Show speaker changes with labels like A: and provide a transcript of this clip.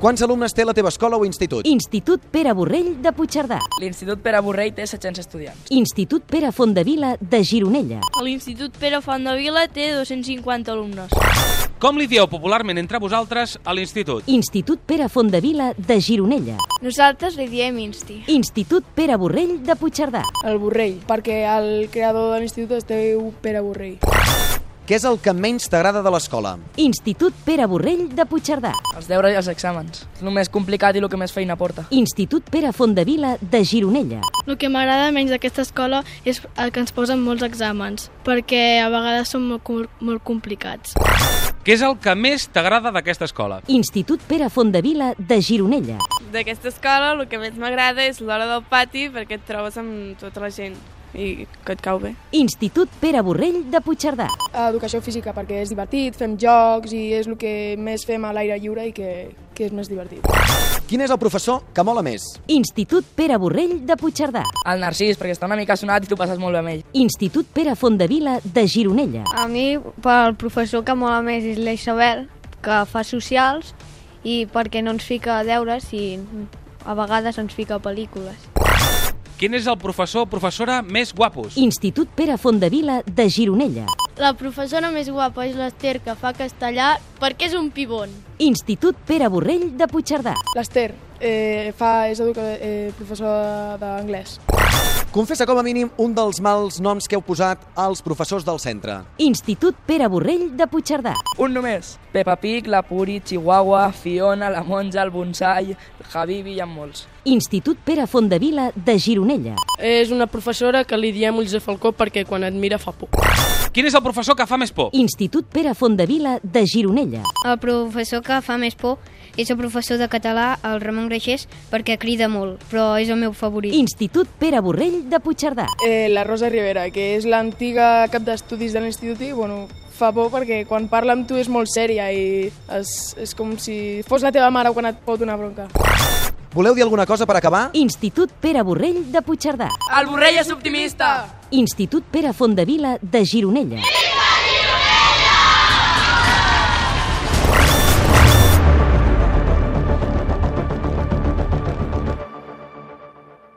A: Quants alumnes té la teva escola o institut?
B: Institut Pere Borrell de Puigcerdà.
C: L'Institut Pere Borrell té 700 estudiants.
B: Institut Pere Fondevila de Gironella.
D: L'Institut Pere Fondevila té 250 alumnes.
E: Com li dieu popularment entre vosaltres a l'institut?
B: Institut Pere Fondevila de Gironella.
D: Nosaltres li diem Insti.
B: Institut Pere Borrell de Puigcerdà.
F: El Borrell, perquè el creador de l'institut es diu Pere Borrell.
A: Què és el que menys t'agrada de l'escola?
B: Institut Pere Borrell de Puigcerdà.
C: Els deures i els exàmens. És el més complicat i el que més feina porta.
B: Institut Pere Fondevila de Gironella.
G: El que m'agrada menys d'aquesta escola és el que ens posen molts exàmens, perquè a vegades són molt, com- molt complicats.
E: Què és el que més t'agrada d'aquesta escola?
B: Institut Pere Fondevila de Gironella.
H: D'aquesta escola el que més m'agrada és l'hora del pati perquè et trobes amb tota la gent i que et cau bé.
B: Institut Pere Borrell de Puigcerdà.
F: Educació física, perquè és divertit, fem jocs i és el que més fem a l'aire lliure i que, que és més divertit.
A: Quin és el professor que mola més?
B: Institut Pere Borrell de Puigcerdà.
C: El Narcís, perquè està una mica sonat i tu passes molt bé amb ell.
B: Institut Pere Fondevila de Gironella.
D: A mi, pel professor que mola més és la Isabel, que fa socials, i perquè no ens fica deures i a vegades ens fica pel·lícules.
E: Quin és el professor o professora més guapos?
B: Institut Pere Fondevila de Gironella.
G: La professora més guapa és l'Ester, que fa castellà, perquè és un pibon.
B: Institut Pere Borrell de Puigcerdà.
F: L'Ester eh, fa, és educa, eh, professor d'anglès.
A: Confessa com a mínim un dels mals noms que heu posat als professors del centre.
B: Institut Pere Borrell de Puigcerdà.
C: Un només. Peppa Pig, la Puri, Chihuahua, Fiona, la Monja, el Bonsai, el Habibi i en molts.
B: Institut Pere Fondevila de Gironella.
I: És una professora que li diem ulls de falcó perquè quan et mira fa por.
E: Quin és el professor que fa més por?
B: Institut Pere Fondevila de Gironella.
G: El professor que fa més por és el professor de català, el Ramon Greixers, perquè crida molt, però és el meu favorit.
B: Institut Pere Borrell de Puigcerdà.
F: Eh, la Rosa Rivera, que és l'antiga cap d'estudis de l'institut i, bueno, fa por perquè quan parla amb tu és molt sèria i és, és com si fos la teva mare quan et pot donar bronca.
A: Voleu dir alguna cosa per acabar?
B: Institut Pere Borrell de Puigcerdà.
C: El Borrell és optimista!
B: Institut Pere Fondevila de Gironella.